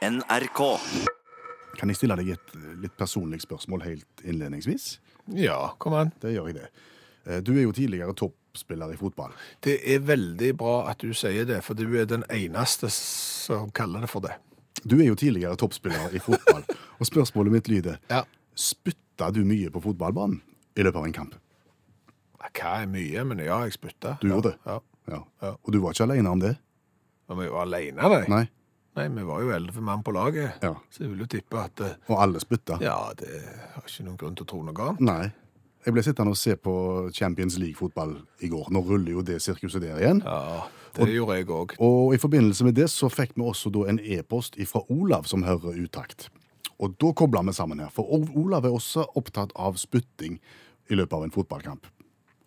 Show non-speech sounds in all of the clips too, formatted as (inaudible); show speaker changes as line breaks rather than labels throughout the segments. NRK.
Kan jeg stille deg et eh, litt personlig spørsmål helt innledningsvis?
Ja, kom an.
Det gjør jeg det. Eh, Du er jo tidligere toppspiller i fotball.
Det er veldig bra at du sier det, for du er den eneste som kaller det for det.
Du er jo tidligere toppspiller i
(laughs)
fotball, og spørsmålet mitt lyder
Ja.
Spytta du mye på fotballbanen i løpet av en kamp?
Hva er mye, men ja, jeg spytta.
Du gjorde det?
Ja.
Ja.
Ja.
Og du var ikke alene om det?
Men vi var alene, nei. nei.
Nei?
vi var jo elleve mann på laget,
Ja.
så jeg vil jo tippe at eh,
Og alle spytta?
ja, det har ikke noen grunn til å tro noe annet.
Nei. Jeg ble sittende og se på Champions League-fotball i går. Nå ruller jo det sirkuset der igjen.
Ja, det gjorde jeg òg.
Og i forbindelse med det så fikk vi også da en e-post fra Olav som hører utakt. Og da kobla vi sammen her, for O- Olav er også opptatt av spytting i løpet av en fotballkamp.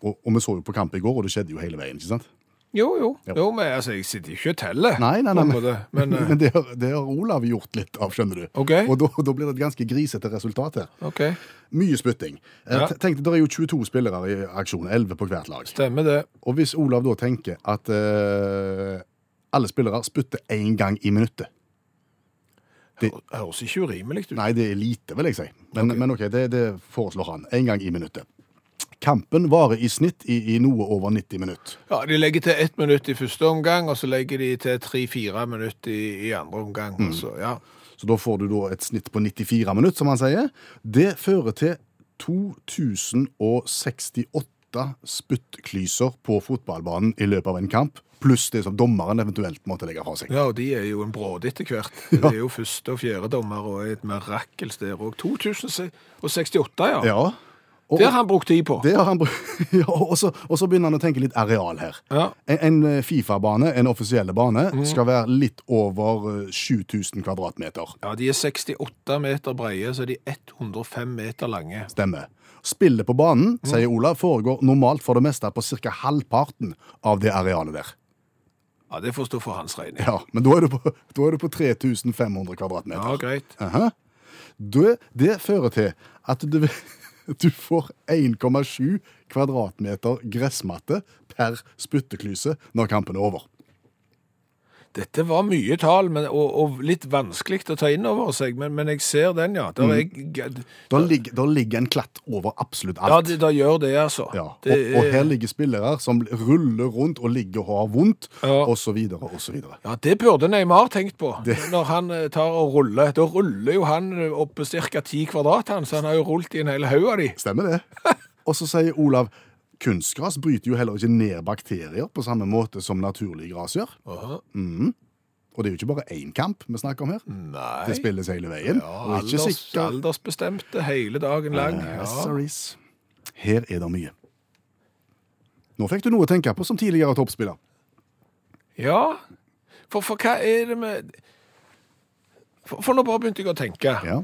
Og, og vi så jo på kamp i går, og det skjedde jo hele veien, ikke sant?
Jo, jo. jo men altså, jeg sitter jo ikke og teller.
Nei, nei, nei, men,
på en måte,
(laughs) men,
Men, eh,
det, har, det har Olav gjort litt av, skjønner du.
Ok.
Og da, da blir det et ganske grisete resultat her.
OK,
Mye spytting. Eh,
Ja.
te- Tenk, det er jo 22 spillere i aksjon, 11 på hvert lag.
stemmer det.
Og hvis Olav da tenker at eh, alle spillere spytter én gang i minuttet Det-
Høres ikke urimelig ut.
Nei, det er lite, vil jeg si. Men ok, men ok, det, det foreslår han. En gang i minuttet. Kampen varer i snitt i, i noe over 90 minutter.
Ja, De legger til ett minutt i første omgang, og så legger de til tre-fire minutter i, i andre omgang.
Mm.
og Så, ja.
Så da får du da et snitt på 94 minutter, som han sier. Det fører til 2068 spyttklyser på fotballbanen i løpet av en kamp, pluss det som dommeren eventuelt måtte legge fra seg.
ja, og de er jo en bråde etter hvert.
(laughs)
Det er jo første og fjerde dommer og et mirakels der òg. 2068, ja.
Ja, og,
Det har han brukt tid på.
det har han br- (laughs) ja, og, så, og så begynner han å tenke litt areal her.
Ja.
En, en eh, Fifa-bane, en offisielle bane, skal være litt over eh, 7000 kvadratmeter.
ja, de er 68 meter breie, så de er 105 meter lange.
Stemmer. Spillet på banen, sier Olav, foregår normalt for det meste på ca. halvparten av det arealet der.
Ja, Det får stå for hans regning.
Ja, Men da er du på, da er du på 3500 kvadratmeter.
Ja, greit.
Aha. Det, det fører til at du, (laughs) du får 1,7 kvadratmeter gressmatte per spytteklyse når kampen er over.
Dette var mye tall, men, og, og litt vanskelig å ta inn over seg, men, men jeg ser den, ja.
Mm.
Der er,
Da ligger, da ligger en klatt over absolutt
ja,
alt.
det, der gjør det, altså.
Ja, og,
Det
og her
er-
ligger spillere som ruller rundt og ligger og har vondt,
Ja.
osv. osv.
Ja, det burde Neymar tenkt på. Når han eh, tar og ruller. Da ruller jo han opp ca. ti kvadrat, han, så han har jo rullet i en hel haug av de.
Stemmer
(laughs)
det. Og så sier Olav kunstgras bryter jo heller ikke ned bakterier på samme måte som naturlig gras gjør. Mm. Og det er jo ikke bare én kamp vi snakker om her. Det
Nei.
spilles hele veien.
Ja,
og ikke
alders,
sikkert
aldersbestemte hele dagen lang.
Eh,
Ja.
Sorries. Her er det mye. Nå fikk du noe å tenke på som tidligere toppspiller.
ja. For, for hva er det med for, for nå bare begynte jeg å tenke.
Ja.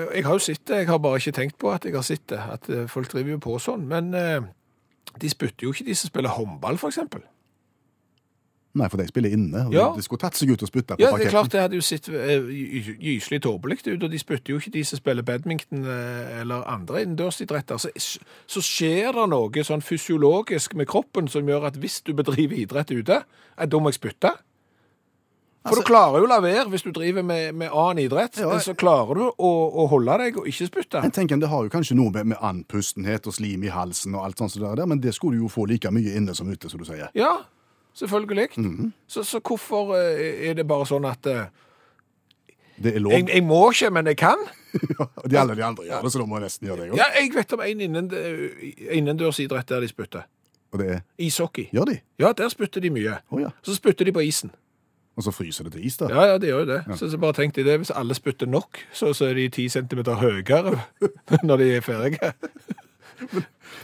Jeg har jo sett det, jeg har bare ikke tenkt på at jeg har sett det. At eh, folk driver jo på sånn. Men eh, de spytter jo ikke, de som spiller håndball, f.eks.
Nei, for de spiller inne. og
Ja.
De skulle tatt seg ut og spytta på
Ja, det
parketten.
er klart det hadde jo sett eh, gy- gyselig tåpelig ut, og de spytter jo ikke de som spiller badminton eh, eller andre innendørsidretter. Så, så skjer det noe sånn fysiologisk med kroppen som gjør at hvis du bedriver idrett ute, eh, da må jeg spytte.
Altså-
For du klarer jo å la være hvis du driver med, med annen idrett.
Ja, jeg-
Så klarer du å, å holde deg og ikke spytte.
Jeg tenker Det har jo kanskje noe med, med andpustenhet og slim i halsen, og alt sånt som det der, men det skulle du jo få like mye inne som ute, som du sier.
Ja, selvfølgelig.
Mhm.
så, så hvorfor eh, er det bare sånn at eh,
Det er lov.
jeg, jeg må ikke, men jeg kan?
(laughs) Ja, de, alle de andre gjør det, så da må jeg nesten gjøre det jeg òg.
Ja, jeg vet om en innendø- innendørsidrett der de spytter.
Og det er
Ishockey.
Gjør de?
Ja, der spytter de mye.
Å ja.
Så spytter de på isen.
Og så fryser det til is, da.
Ja, ja, de gjør jo det. Så, så bare tenk deg det, hvis alle spytter nok, så, så er de ti centimeter høyere (laughs) når de er ferdige.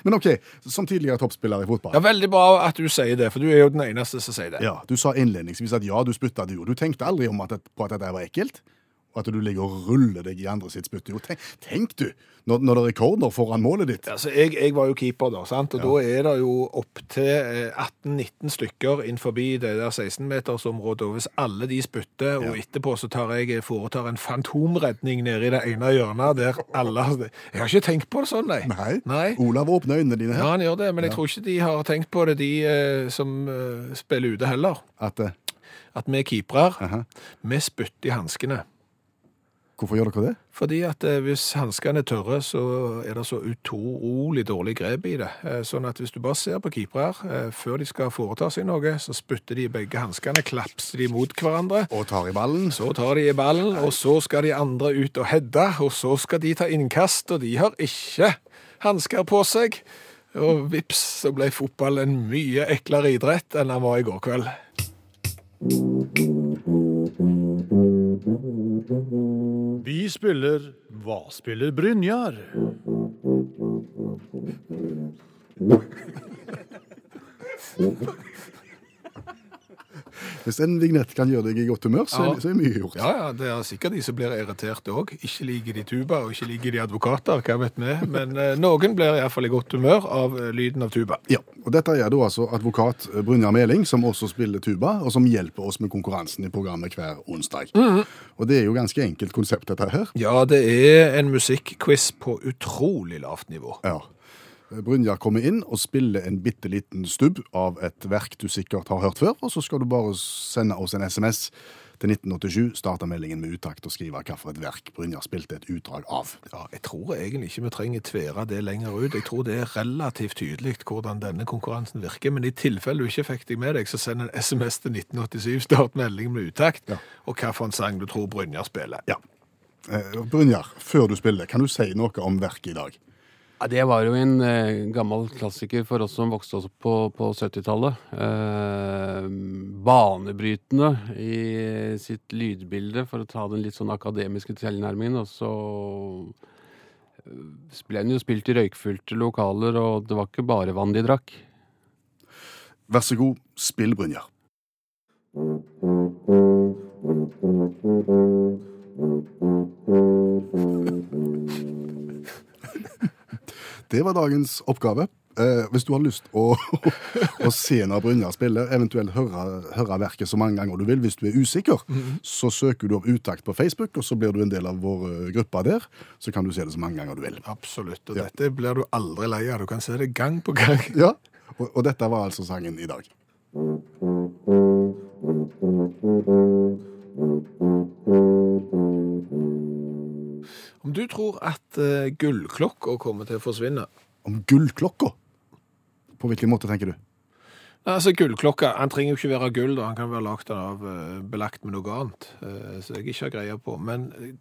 Men OK, som tidligere toppspiller i fotball.
Ja, veldig bra at du sier det, for du er jo den eneste som sier det.
Ja, Du sa innledningsvis at ja, du spytta du, og du tenkte aldri om at, på at dette var ekkelt. Og at du ligger og ruller deg i andre sitt spytt. Jo, tenk, tenk du, når, når det er rekorder foran målet ditt.
Altså, jeg, jeg var jo keeper da, sant? og da er det jo opp til eh, 18-19 stykker innenfor det der 16-metersområdet, og hvis alle de spytter, og etterpå så tar jeg eh, foretar en fantomredning nede i det ene hjørnet der alle... Jeg har ikke tenkt på det sånn, nei.
Nei.
Nei.
Olav åpner øynene dine
Ja,
her.
han gjør det, men jeg tror ikke de har tenkt på det, de eh, som eh, spiller ute heller.
At eh,
At vi keepere,
Aha.
vi spytter i hanskene.
Hvorfor gjør dere det?
Fordi at eh, hvis hanskene er tørre, så er det så utrolig dårlig grep i det. Eh, Sånn at hvis du bare ser på keepere her, eh, før de skal foreta seg noe, så spytter de i begge hanskene, klapser de mot hverandre.
Og tar i ballen.
Så tar de i ballen, og så skal de andre ut og hedde, og så skal de ta innkast, og de har ikke hansker på seg. Og vips, så ble fotball en mye eklere idrett enn den var i går kveld.
Vi spiller Hva spiller Brynjar?
Hvis en vignett kan gjøre deg i godt humør, så,
Ja.
er- så er mye gjort.
Ja, ja, det er sikkert de som blir irritert òg. Ikke liker de tuba, og ikke liker de advokater, hva vet vi. Men eh, noen blir iallfall i godt humør av eh, lyden av tuba.
Ja, og Dette er da altså advokat Brynjar Meling, som også spiller tuba, og som hjelper oss med konkurransen i programmet hver onsdag.
Mhm.
Og Det er jo ganske enkelt konsept, dette her.
Ja, det er en musikkquiz på utrolig lavt nivå.
Ja. Brynjar kommer inn og spiller en bitte liten stubb av et verk du sikkert har hørt før, og så skal du bare sende oss en SMS til 1987, starte meldingen med uttakt og skrive hvilket verk Brynjar spilte et utdrag av.
Ja, jeg tror egentlig ikke vi trenger tvære det lenger ut. Jeg tror det er relativt tydelig hvordan denne konkurransen virker. Men i tilfelle du ikke fikk deg med deg, så send en SMS til 1987, start melding med utakt,
Ja.
og hvilken sang du tror Brynjar spiller.
Ja. Eh, Brynjar, før du spiller, kan du si noe om verket i dag?
Ja, det var jo en eh, gammel klassiker for oss som vokste opp på, på 70-tallet. Eh, banebrytende i sitt lydbilde, for å ta den litt sånn akademiske tilnærmingen. Og så eh, ble den jo spilt i røykfylte lokaler, og det var ikke bare vann de drakk.
Vær så god, spill Brynjar. Det var dagens oppgave. Eh, hvis du har lyst å, å se når Brynjar spiller, eventuelt høre, høre verket så mange ganger du vil, hvis du er usikker, så søker du opp Utakt på Facebook, og så blir du en del av vår eh, gruppe der. Så kan du se det så mange ganger du vil.
Absolutt. Og dette blir du aldri lei av. Du kan se det gang på gang.
Ja, og, og dette var altså sangen i dag.
Om du tror at uh, gullklokka kommer til å forsvinne
Om gullklokka. På hvilken måte tenker du?
Nei, Altså, Gullklokka han trenger jo ikke være av gull, da. han kan være lagd av eh, belagt med noe annet. eh, Så jeg ikke har greie på. Men eh,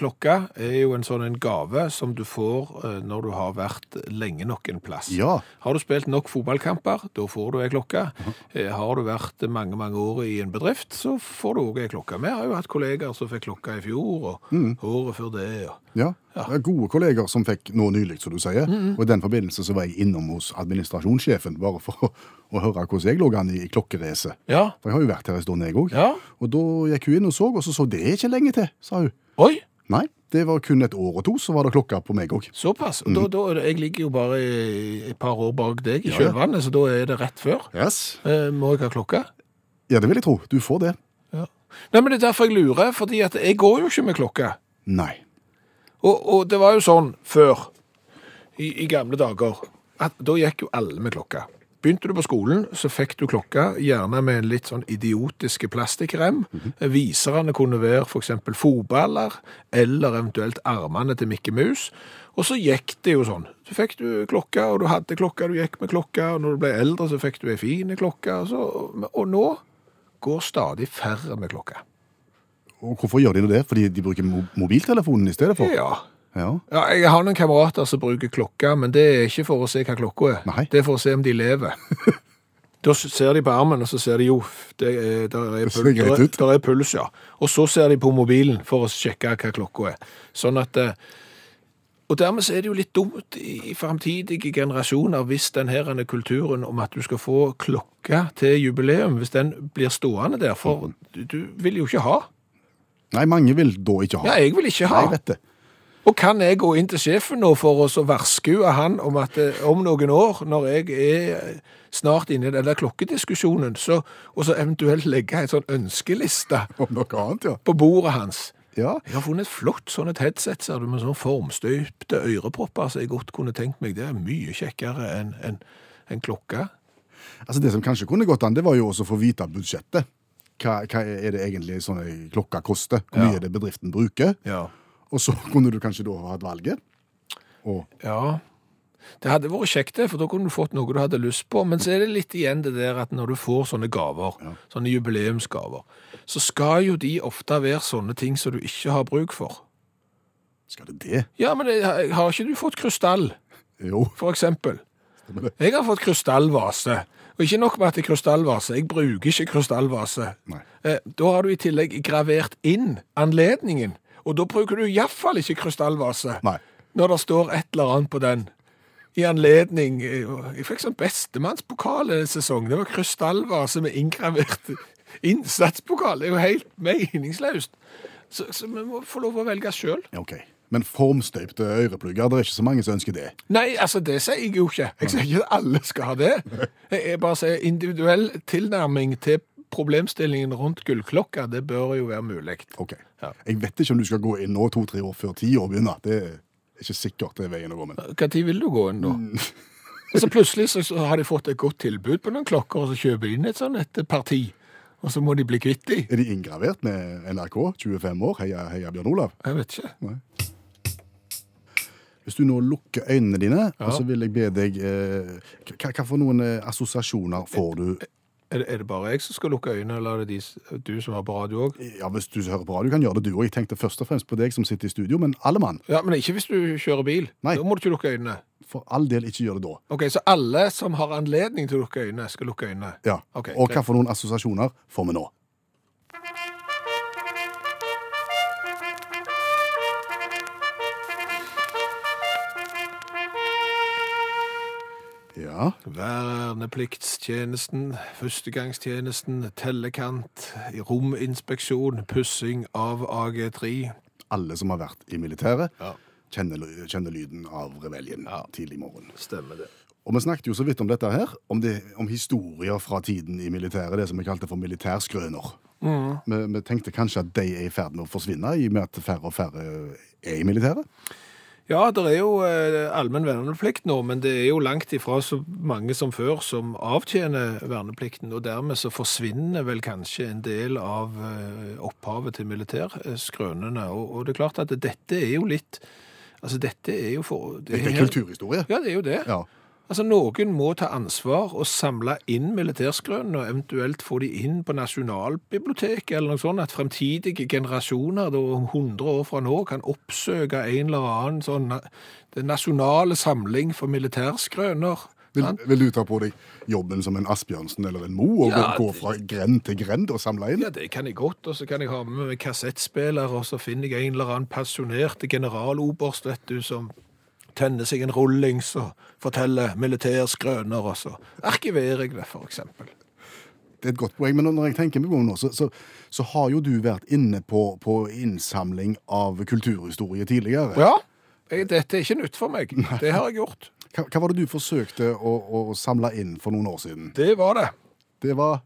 klokka er jo en sånn en gave som du får eh, når du har vært lenge nok en plass.
Ja.
Har du spilt nok fotballkamper, da får du ei klokke. Eh, Har du vært mange mange år i en bedrift, så får du òg ei klokke. Vi har jo hatt kollegaer som fikk klokka i fjor, og
Mm.
året før det. og...
Ja. Mm, Det er gode kolleger som fikk noe nylig, som du sier. Og i den forbindelse så var jeg innom hos administrasjonssjefen, bare for å, å høre hvordan jeg lå an i, i klokkeracet.
Ja.
For jeg har jo vært her en stund, jeg òg.
ja.
Og da gikk hun inn og så, og så så det er ikke lenge til, sa hun.
Oi!
Nei, det var kun et år og to, så var det klokka på meg òg.
Såpass. Og da, da, jeg ligger jo bare i- et par år bak deg i
Mm. Ja, ja.
kjølvannet, så da er det rett før.
Yes.
Eh, må jeg ha klokka?
Ja, det vil jeg tro. Du får det.
Nei, men Det er derfor jeg lurer, fordi at jeg går jo ikke med klokke.
Nei.
Og, og det var jo sånn før, i, i gamle dager, at da gikk jo alle med klokka. Begynte du på skolen, så fikk du klokka, gjerne med en litt sånn idiotiske plastikkrem. Viserne kunne være for eksempel fotballer, eller eventuelt armene til Mikke Mus. Og så gikk det jo sånn. Så fikk du klokka, og du hadde klokka, du gikk med klokka, og når du ble eldre så fikk du en fin klokke. Og, så, og nå går stadig færre med klokka.
Og hvorfor gjør de nå det? Fordi de bruker mo mobiltelefonen i stedet for?
Ja,
Ja.
Ja, jeg har noen kamerater som bruker klokka, men det er ikke for å se hva klokka er.
Nei.
Det er for å se om de lever. (laughs) da s- ser de på armen, og så ser de jo, det er, der, er
Det ser
pul
greit
der, er-
ut.
der er puls, ja. Og så ser de på mobilen for å sjekke hva klokka er. Sånn at... eh, Og dermed så er det jo litt dumt i i fremtidige generasjoner hvis den her denne kulturen om at du skal få klokka til jubileum, hvis den blir stående der,
Mm.
for du, du vil jo ikke ha.
Nei, mange vil da ikke ha.
Ja, jeg vil ikke ha.
Nei, jeg vet det.
Og kan jeg gå inn til sjefen nå for å så varskue han om at eh, om noen år, når jeg er snart inne i den der klokkediskusjonen, så, og så eventuelt legge en sånn ønskeliste
Om noe annet, ja.
på bordet hans.
Ja,
Jeg har funnet et flott sånn et headset, ser du, med sånn formstøypte ørepropper, så jeg godt kunne tenkt meg det er mye kjekkere enn enn- enn klokka.
altså Det som kanskje kunne gått an, det var jo også å få vite budsjettet. Hva, hva er det egentlig sånne sånn, eh, klokka koster? Hvor
Ja.
mye er det bedriften bruker?
Ja.
Og så (laughs) kunne du kanskje da ha hatt valget. Og
Ja. Det hadde vært kjekt, det, for da kunne du fått noe du hadde lyst på. Men så er det litt igjen det der at når du får sånne gaver, sånne jubileumsgaver, så skal jo de ofte være sånne ting som du ikke har bruk for.
skal det det?
Ja, men det- har ikke du fått krystall,
Jo.
for eksempel?
stemmer det.
Jeg har fått krystallvase. Og ikke nok med at det er krystallvase, jeg bruker ikke krystallvase.
Nei.
Eh, Da har du i tillegg gravert inn anledningen, og da bruker du iallfall ikke krystallvase.
Nei.
Når det står et eller annet på den. I anledning eh, Jeg fikk sånn bestemannspokal en sesong. Det var krystallvase med inngravert innsatspokal. Det er jo helt meningsløst. Så, så vi må få lov å velge sjøl.
Ja, OK. Men formstøypte øreplugger, det er ikke så mange som ønsker det.
Nei, altså, det sier jeg jo ikke. Jeg sier ikke at alle skal ha det. Jeg jeg bare sier individuell tilnærming til problemstillingen rundt gullklokka, det bør jo være mulig.
OK.
Ja.
Jeg vet ikke om du skal gå inn nå to-tre år før ti år begynner. Det er ikke sikkert det er veien å gå, men
Når vil du gå inn, da? (laughs) Og så plutselig så, så har de fått et godt tilbud på noen klokker, og så kjøper de inn et sånn et parti. Og så må de bli kvitt de.
Er de inngravert med NRK, 25 år? Heia, heia Bjørn Olav.
Jeg vet ikke.
Hvis du nå lukker øynene dine,
Ja.
og så vil jeg be deg eh, hva, hva for noen eh, assosiasjoner får du
Er det, er det bare jeg som skal lukke øynene, eller er det de, s- du som har på radio òg?
Ja, Hvis du hører på radio, kan gjøre det du òg. Jeg tenkte først og fremst på deg som sitter i studio, men alle mann,
Ja, men ikke hvis du kjører bil.
Nei.
Da må du ikke lukke øynene.
for all del, ikke gjør det da.
Ok, Så alle som har anledning til å lukke øynene, skal lukke øynene?
Ja.
Ok,
og
greit.
hva for noen assosiasjoner får vi nå? Ja.
Vernepliktstjenesten, førstegangstjenesten, tellekant, rominspeksjon, pussing av AG3.
alle som har vært i militæret,
Ja.
kjenner, ly- kjenner lyden av rebellen
Ja.
tidlig morgen.
Stemmer det.
Og vi snakket jo så vidt om dette her, om, det, om historier fra tiden i militæret, det som vi kalte for militærskrøner.
Mm.
Vi, vi tenkte kanskje at de er i ferd med å forsvinne, i og med at færre og færre er i militæret.
Ja, det er jo eh, allmenn verneplikt nå, men det er jo langt ifra så mange som før som avtjener verneplikten, og dermed så forsvinner vel kanskje en del av eh, opphavet til militærskrønene. Og, og det er klart at dette er jo litt Altså, dette er jo for
Det er
her-
kulturhistorie.
Ja, det er jo det.
Ja.
Altså, Noen må ta ansvar og samle inn militærskrønene, og eventuelt få de inn på Nasjonalbiblioteket, eller noe sånt, at fremtidige generasjoner da, om 100 år fra nå kan oppsøke en eller annen sånn na- den nasjonale samling for militærskrøner.
Vil,
sant?
vil du ta på deg jobben som en Asbjørnsen eller en Mo, og
Ja,
gå
det-
fra grend til grend og samle inn?
Ja, det kan jeg godt, og så kan jeg ha med meg kassettspiller, og så finner jeg en eller annen pensjonert generaloberst, vet du, som tenner seg en rullings og forteller militærskrøner, og så arkiverer jeg det, for eksempel.
Det er et godt poeng, men når jeg tenker meg om nå, så, så, så har jo du vært inne på, på innsamling av kulturhistorie tidligere.
Ja. Jeg, dette er ikke nytt for meg. Det har jeg gjort.
Hva, hva var det du forsøkte å, å samle inn for noen år siden?
Det var det.
Det var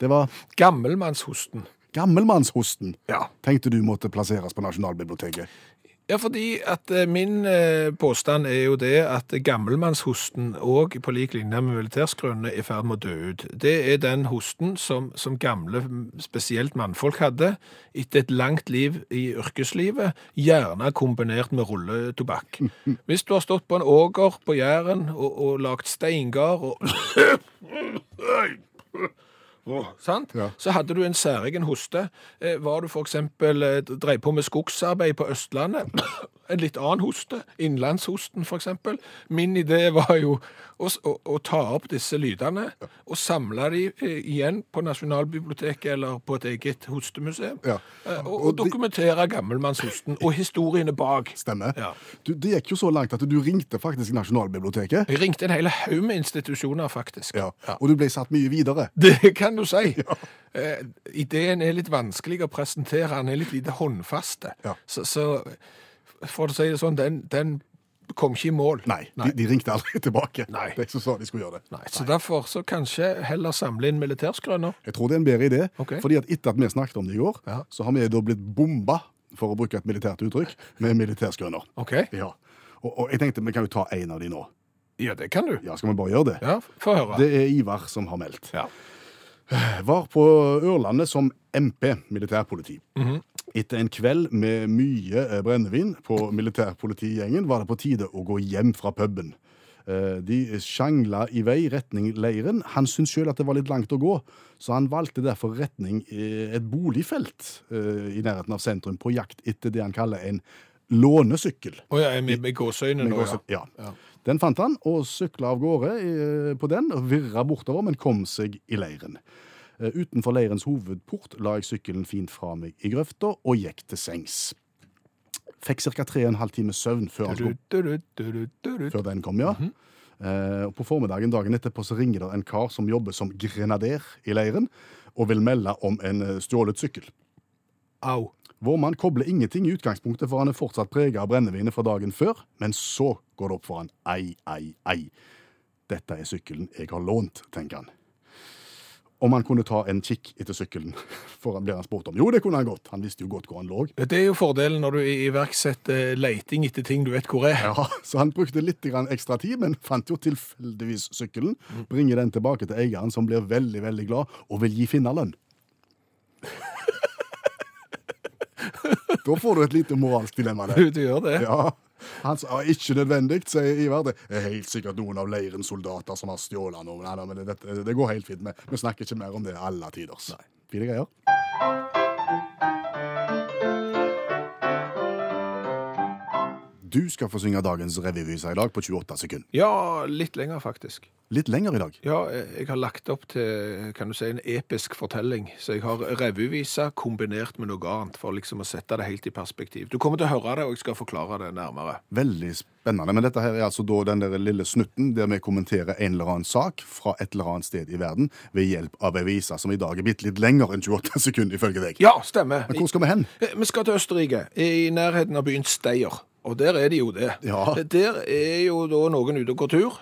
Det var
Gammelmannshosten.
gammelmannshosten.
Ja.
Tenkte du måtte plasseres på Nasjonalbiblioteket.
Ja, fordi at eh, min eh, påstand er jo det at gammelmannshosten òg på lik linje med militærskrønene er i ferd med å dø ut. Det er den hosten som, som gamle, spesielt mannfolk, hadde etter et langt liv i yrkeslivet, gjerne kombinert med (laughs) rulletobakk. Hvis du har stått på en åger på Jæren og, og lagd steingard og sant?
Ja.
Så hadde du en særegen hoste. Eh, Var du f.eks. drev på med skogsarbeid på Østlandet, en litt annen hoste, innlandshosten f.eks. Min idé var jo å, s- å, å ta opp disse lydene og samle de eh, igjen på Nasjonalbiblioteket eller på et eget hostemuseum.
Ja.
Eh, Og, og
Og de-
dokumentere gammelmannshosten og historiene bak.
Stemmer?
Ja.
Du, det gikk jo så langt at du ringte faktisk Nasjonalbiblioteket.
Jeg ringte en hel haug med institusjoner, faktisk.
Ja. Og du ble satt mye videre.
Det kan du
(laughs)
si. Eh, ideen er litt vanskelig å presentere, den er litt lite håndfaste.
Ja.
Så, så for å si det sånn, den, den kom ikke i mål.
Nei,
Nei.
De, de ringte aldri (laughs) tilbake.
Nei.
De som sa de skulle gjøre det.
Nei, Så derfor så kanskje heller samle inn militærskrønner.
Jeg tror det er en bedre idé,
Ok.
fordi at etter at vi snakket om det i går,
Ja.
så har vi da blitt bomba, for å bruke et militært uttrykk, med militærskrønner.
OK?
Ja. Og, og jeg tenkte vi kan jo ta en av de nå.
Ja, det kan du.
Ja, skal vi bare gjøre det?
Ja, få høre.
Det er Ivar som har meldt.
Ja.
Var på Ørlandet som MP, militærpoliti. Etter en kveld med mye eh, brennevin på militærpolitigjengen var det på tide å gå hjem fra puben. Eh, De sjangla i vei retning leiren. Han syntes sjøl at det var litt langt å gå, så han valgte derfor retning eh, et boligfelt eh, i nærheten av sentrum, på jakt etter det han kaller en lånesykkel.
Å ja, med, med gåseøyne
Med
nå, ja.
gåse- ja. Den fant han, og sykla av gårde eh, på den, og virra bortover, men kom seg i leiren. Eh, Utenfor leirens hovedport la jeg sykkelen fint fra meg i grøfta og gikk til sengs. Fikk ca. tre og en halv time søvn før, han skulle,
Du-du-du-du-du-du.
før den kom, ja. Eh, og på formiddagen dagen etterpå så ringer det en kar som jobber som grenader i leiren, og vil melde om en eh, stjålet sykkel.
Au.
Vår mann kobler ingenting i utgangspunktet, for han er fortsatt preget av brennevinet fra dagen før, men så går det opp for han. Ei, ei, ei. Dette er sykkelen jeg har lånt, tenker han. Om han kunne ta en kikk etter sykkelen, (laughs) for han blir han spurt om. Jo, det kunne han godt. Han visste jo godt hvor han lå.
Det er jo fordelen når du iverksetter leiting etter ting du vet hvor er.
Ja, så han brukte litt grann ekstra tid, men fant jo tilfeldigvis sykkelen. Bringer den tilbake til eieren, som blir veldig, veldig glad, og vil gi finnerlønn. (laughs) da får du et lite moralsk dilemma der.
(laughs) Du, du gjør det.
Ja. Han sa ikke nødvendig, sier Ivar. Det er helt sikkert noen av leirens soldater som har stjålet noe. Nei, nei, men det, det, det går helt fint. Vi, vi snakker ikke mer om det alle tiders. Fine greier. Du skal få synge dagens revyvise i dag på 28 sekunder.
Ja, litt lenger faktisk.
Litt lenger i dag.
Ja, eh, jeg har lagt opp til eh, kan du si, en episk fortelling. Så jeg har revyvisa kombinert med noe annet, for liksom å sette det helt i perspektiv. Du kommer til å høre det, og jeg skal forklare det nærmere.
Veldig spennende. Men dette her er altså da den der lille snutten der vi kommenterer en eller annen sak fra et eller annet sted i verden ved hjelp av aviser som i dag er bitte litt lenger enn 28 sekunder, ifølge deg.
Ja, stemmer.
Men hvor skal vi hen?
Eh, Vi skal til Østerrike, i nærheten av byen Steyr. Og der er de jo det.
Ja.
Eh, Der er jo da noen ute og går tur,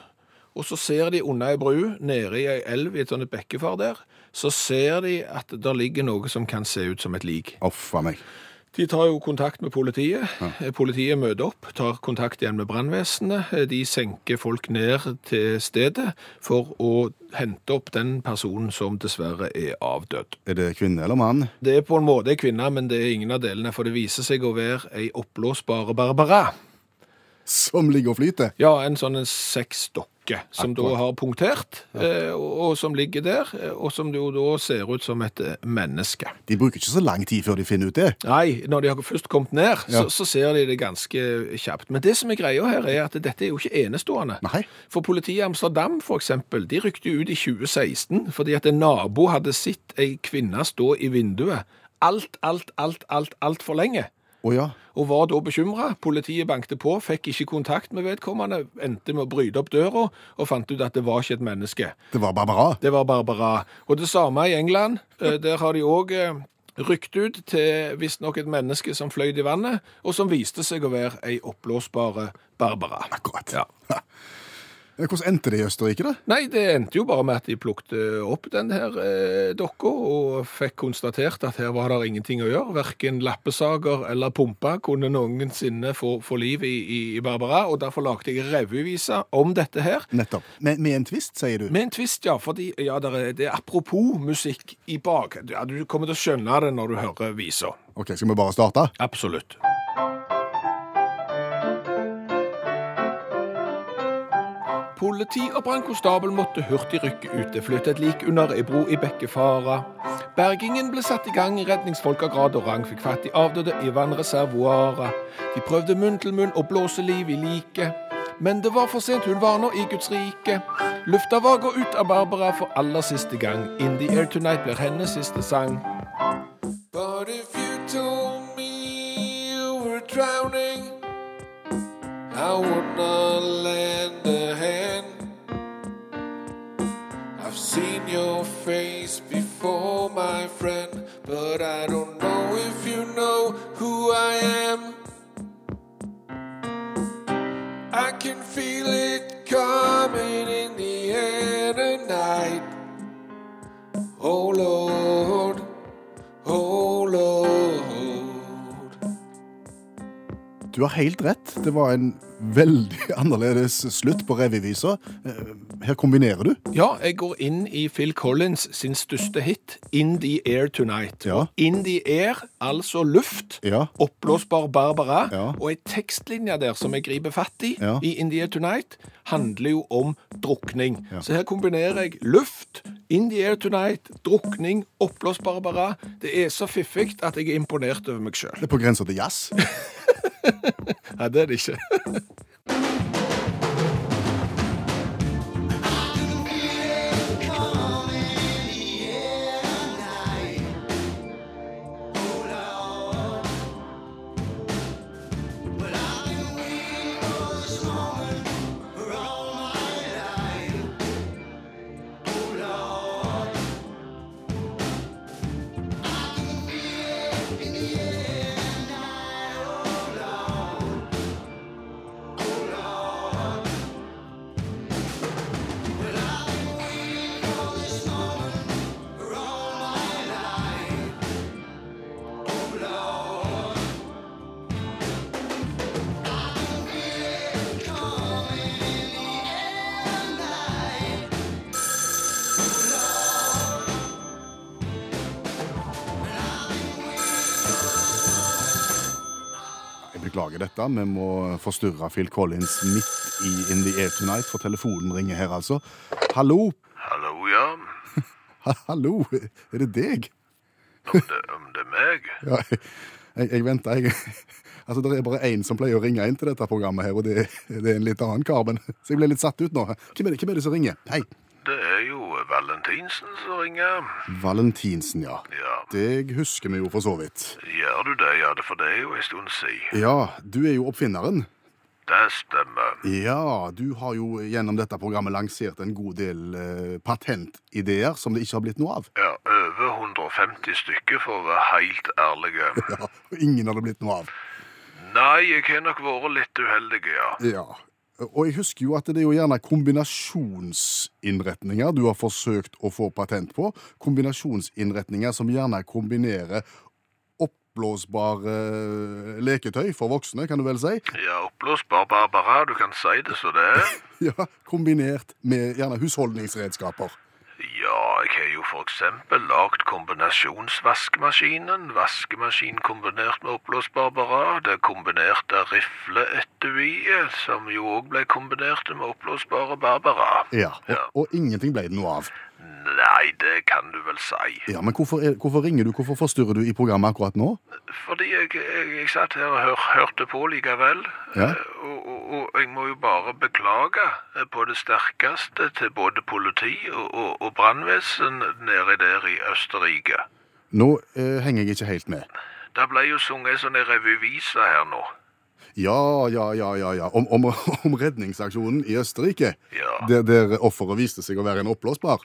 og så ser de under ei bru, nede i ei elv i et sånt bekkefar der, så ser de at der ligger noe som kan se ut som et lik.
Uff a meg.
De tar jo kontakt med politiet. Eh, Politiet møter opp, tar kontakt igjen med brannvesenet. Eh, De senker folk ned til stedet for å hente opp den personen som dessverre er avdød.
Er det kvinne eller mann?
Det er på en måte en kvinne, men det er ingen av delene, for det viser seg å være ei oppblåsbare Barbara.
Som ligger og flyter?
Ja, en sånn en sexdokke som da har punktert, eh, og, og som ligger der, eh, og som jo da ser ut som et eh, menneske.
De bruker ikke så lang tid før de finner ut det.
Nei, når de har først kommet ned,
Ja.
så, så ser de det ganske kjapt. Men det som er greia her, er at dette er jo ikke enestående.
Nei.
For politiet i Amsterdam, for eksempel, de rykte jo ut i 2016 fordi at en nabo hadde sett ei kvinne stå i vinduet alt, alt, alt, alt, alt for lenge.
Å ja.
og var da bekymra. Politiet bankte på, fikk ikke kontakt med vedkommende, endte med å bryte opp døra og fant ut at det var ikke et menneske.
Det var Barbara.
Det var Barbara. Og det samme i England. Eh, Der har de òg rykt ut til visstnok et menneske som fløyt i vannet, og som viste seg å være ei oppblåsbare Barbara.
Akkurat. Eh,
Ja.
Hvordan endte det i Østerrike, da?
Nei, det endte jo bare med at de plukte opp den her eh, dokka, og fikk konstatert at her var det ingenting å gjøre. Verken lappesager eller pumpe kunne noensinne få, få liv i, i, i Barbara, og derfor lagde jeg revyvisa om dette her.
Nettopp. Med, med en tvist, sier du?
Med en twist, ja, fordi ja, der er, det er apropos musikk i bak. Ja, du kommer til å skjønne det når du hører visa.
Ok, Skal vi bare starte?
Absolutt. Politi og brannkonstabel måtte hurtig rykke ut. Det fløt et lik under ei bro i Bekkefara. Bergingen ble satt i gang. Redningsfolk av grad og rang fikk fatt i avdøde i vannreservoaret. De prøvde munn til munn å blåse liv i liket. Men det var for sent, hun var nå i Guds rike. Lufta var gå ut av Barbara for aller siste gang. In the air tonight blir hennes siste sang. But if you told me you were drowning, I would not lend a hand. I've seen your face before, my friend, but I don't know if you know who I am. I can feel it coming in the air tonight. Oh Lord. Oh Lord.
Du Du har helt rett. Det var en veldig (laughs) annerledes slutt på revyvisa. Eh, Her kombinerer du.
Ja, jeg går inn i Phil Collins sin største hit, In the Air Tonight.
Ja.
Og In the Air, altså luft,
Ja.
oppblåsbar Barbara,
Ja.
og ei tekstlinje der som jeg griper fatt i,
Ja.
i In the Air Tonight, handler jo om drukning.
Ja.
Så her kombinerer jeg luft, In the Air Tonight, drukning, oppblåsbar Barbara. Det er så fiffig at jeg er imponert over meg sjøl.
Det er på grensa til jazz.
Nei, det er det ikke.
Jeg beklager dette. Vi må forstyrre Phil Collins midt i In the Air Tonight, for telefonen ringer her, altså. Hallo?
Hallo, ja.
Ha- Hallo? Er det deg?
Om det, om det er meg?
Ja, jeg, jeg, jeg venter, jeg. Altså, Det er bare én som pleier å ringe inn til dette programmet, her, og det, det er en litt annen kar. Men, så jeg ble litt satt ut nå. Hvem er det, hvem er det som ringer? Hei.
Det er jo Valentinsen som ringer.
Valentinsen, ja.
Ja,
Deg husker vi jo for så vidt.
gjør du det? Ja, det for det er jo en stund siden.
Ja, du er jo oppfinneren.
Det stemmer.
Ja, du har jo gjennom dette programmet lansert en god del eh, patentideer som det ikke har blitt noe av.
Ja, over 150 stykker for å være helt ærlige.
Ja, og ingen har det blitt noe av.
Nei, jeg har nok vært litt uheldig, ja.
Ja. Og jeg husker jo at det er jo gjerne kombinasjonsinnretninger du har forsøkt å få patent på. Kombinasjonsinnretninger som gjerne kombinerer oppblåsbare leketøy for voksne, kan du vel si.
Ja, oppblåsbar Barbara, du kan si det så det er.
Ja, Kombinert med gjerne husholdningsredskaper.
Ja, jeg har jo for eksempel lagt kombinasjonsvaskemaskinen, vaskemaskin kombinert med oppblåsbar Barbara, det kombinerte rifleetuiet, som jo også ble kombinert med oppblåsbare Barbara.
Ja, og,
Ja.
og ingenting ble det noe av.
Nei, det kan du vel si.
Ja, Men hvorfor, er, hvorfor ringer du? Hvorfor forstyrrer du i programmet akkurat nå?
Fordi jeg, jeg, jeg satt her og hør, hørte på likevel.
Ja.
Eh, Og, og, og jeg må jo bare beklage eh, på det sterkeste til både politi og, og, og brannvesen nede der i Østerrike.
Nå eh, henger jeg ikke helt med.
Det ble jo sunget en sånn en revyvise her nå.
Ja, ja, ja, ja, ja. Om, om, (laughs) om redningsaksjonen i Østerrike,
Ja.
der, der offeret viste seg å være en oppblåsbar.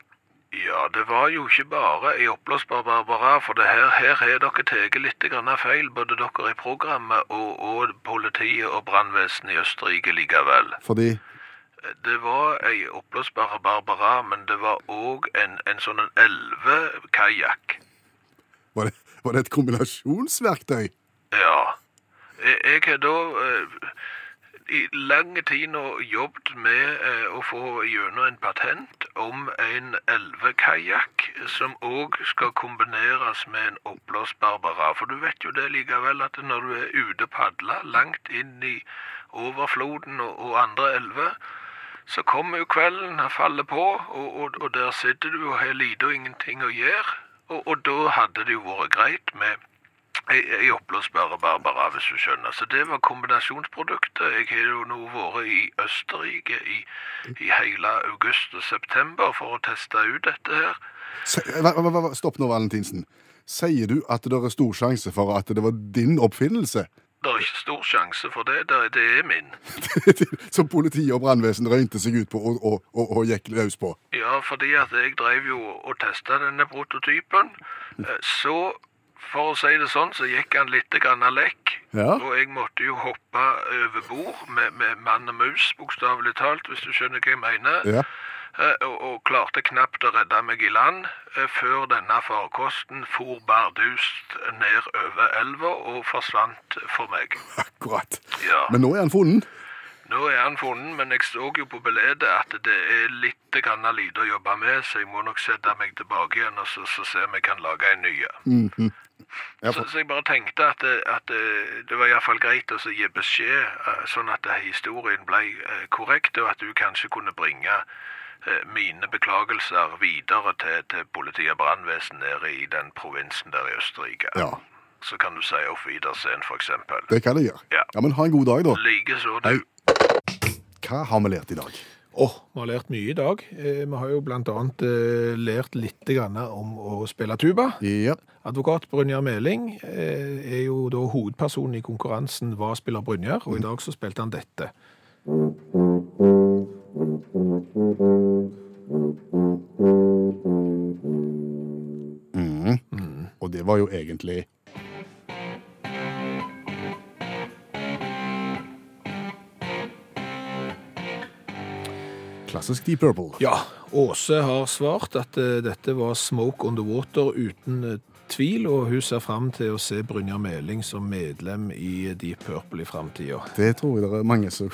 Ja, det var jo ikke bare ei oppblåsbar Barbara, for det her, her har dere tatt litt grann feil, både dere i programmet og, og politiet og brannvesenet i Østerrike likevel.
Fordi
Det var ei oppblåsbar Barbara, men det var òg en, en sånn en elvekajakk.
var det, var det et kombinasjonsverktøy?
Ja. Jeg jeg har da eh, i lang tid nå jobbet med eh, å få gjennom en patent om en elvekajakk som òg skal kombineres med en oppblåsbar Barbara. For du vet jo det likevel at når du er ute og padler langt inn i overfloden og, og andre elver, Så kommer jo kvelden, han faller på, og, og, og der sitter du og har lite og ingenting å gjøre. Og, og da hadde det jo vært greit med ei ei oppblåsbare Barbara, hvis du skjønner. Så det var kombinasjonsproduktet. Jeg har jo nå vært i Østerrike i, i hele august og september for å teste ut dette her.
Se, hva, hva, hva, hva- stopp nå, Valentinsen. Sier du at det er stor sjanse for at det var din oppfinnelse? (laughs)
Det er ikke stor sjanse for det. Det, det er min.
Som politi og brannvesen røynte seg ut på og, og, og, og gikk løs på?
Ja, fordi at jeg drev jo og testa denne prototypen. Eh, Så, for å si det sånn, så gikk han litt grann lekk.
Ja.
Og jeg måtte jo hoppe over bord med, med mann og mus, bokstavelig talt, hvis du skjønner hva jeg mener.
Ja.
eh, og, og klarte knapt å redde meg i land eh, før denne farkosten for bardust ned over elva og forsvant for meg.
Akkurat.
Ja.
Men nå er han funnet.
Nå er han funnet, men jeg så jo på billedet at det er litt grann lite å jobbe med, så jeg må nok sette meg tilbake igjen og så, så se om jeg kan lage en ny.
Mhm. Ja,
Så,
for-
så jeg bare tenkte at, det- at eh, det det var iallfall greit å så gi beskjed, eh, sånn at eh, historien ble eh, korrekt, og at du kanskje kunne bringe eh, mine beklagelser videre til, til politi og brannvesen nede i den provinsen der i Østerrike.
Ja,
Så kan du si Auf Wiedersehen, for eksempel.
det kan jeg gjøre.
Ja.
Ja, Men ha en god dag, da.
Likeså du.
Hva har vi lært i dag?
Åh, vi har lært mye i dag. Eh, Vi har jo blant annet eh, lært litt grann om å spille tuba.
Ja,
Advokat Brynjar Meling eh, er jo da hovedpersonen i konkurransen Hva spiller Brynjar? Og i dag så spilte han dette.
Og det var jo egentlig Klassisk Deep Purple.
Ja, Åse har svart at eh, dette var Smoke on the Water uten eh, tvil, og hun ser fram til å se Brynjar Meling som medlem i Deep Purple i framtida.
Det tror jeg det er mange som (laughs)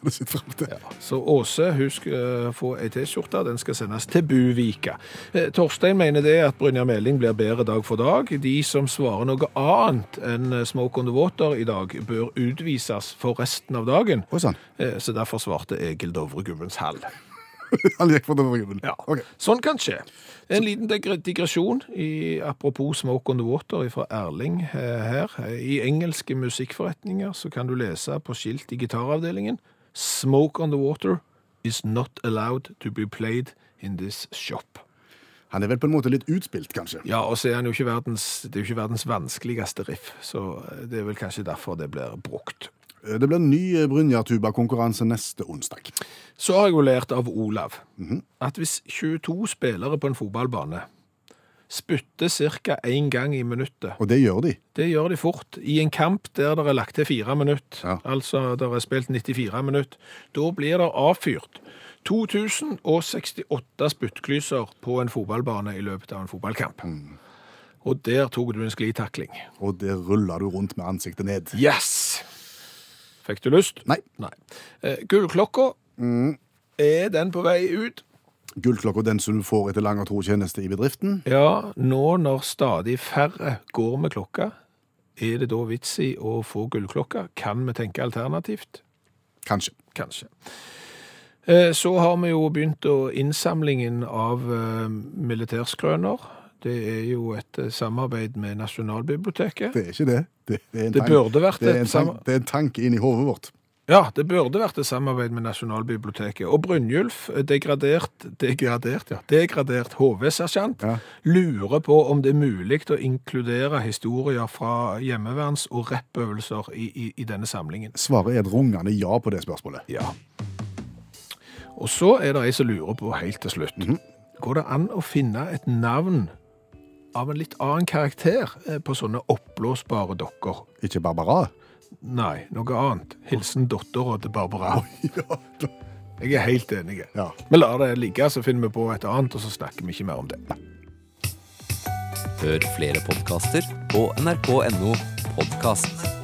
hadde sett fram til.
Så Åse, hun skal eh, få ei T-skjorte. Den skal sendes til Buvika. Eh, Torstein mener det at Brynjar Meling blir bedre dag for dag. De som svarer noe annet enn eh, Smoke on the Water i dag, bør utvises for resten av dagen.
Oi sann,
Eh, Så derfor svarte Egil Dovre Gubbens Hall.
(laughs) han gikk for den ryggen.
Ja.
Ok.
Sånn kan skje. En liten digre- digresjon i, apropos Smoke on the Water fra Erling eh, her. I engelske musikkforretninger så kan du lese på skilt i gitaravdelingen Smoke on the Water is not allowed to be played in this shop.
Han er vel på en måte litt utspilt, kanskje.
Ja, og så er han jo ikke verdens, det er jo ikke verdens vanskeligste riff, så eh, det er vel kanskje derfor det blir brukt.
Det blir en ny eh, Brynjar-tuba-konkurranse neste onsdag.
Så har jeg jo lært av Olav at hvis 22 spillere på en fotballbane spytter ca. én gang i minuttet
Og det gjør de.
Det gjør de fort. I en kamp der det er lagt til fire minutter,
Ja.
altså der er spilt 94 minutter, da blir det avfyrt 2068 spyttklyser på en fotballbane i løpet av en fotballkamp. Og der tok du en sklitakling.
Og det ruller du rundt med ansiktet ned.
Yes! Fikk du lyst?
Nei,
Nei. Eh, gullklokka, er den på vei ut?
gullklokka den som du får etter lang og tro tjeneste i bedriften.
Ja, nå når stadig færre går med klokka, er det da vits i å få gullklokka? Kan vi tenke alternativt?
Kanskje.
Kanskje. Eh, Så har vi jo begynt å innsamlingen av eh, militærskrøner. Det er jo et eh, samarbeid med Nasjonalbiblioteket.
Det er ikke det. Det, det, er en
Det
tank-
burde vært
det
et
er en, tank,
sam-
det er en tanke inni hodet vårt.
Ja, det burde vært et samarbeid med Nasjonalbiblioteket. Og Brynjulf, eh, degradert, degradert, ja, degradert HV-sersjant,
Ja.
lurer på om det er mulig å inkludere historier fra hjemmeverns- og rappøvelser i, i, i denne samlingen.
Svaret er et rungende ja på det spørsmålet.
Ja. Og så er det ei som lurer på helt til slutt. Går det an å finne et navn av en litt annen karakter eh, på sånne oppblåsbare dokker?
Ikke Barbara.
Nei, noe annet. Hilsen dattera til
(laughs)
Barbara. Jeg er helt enig.
Ja.
Vi lar det ligge, så finner vi på et annet, og så snakker vi ikke mer om det.
Hør flere podkaster på nrk.no podkast.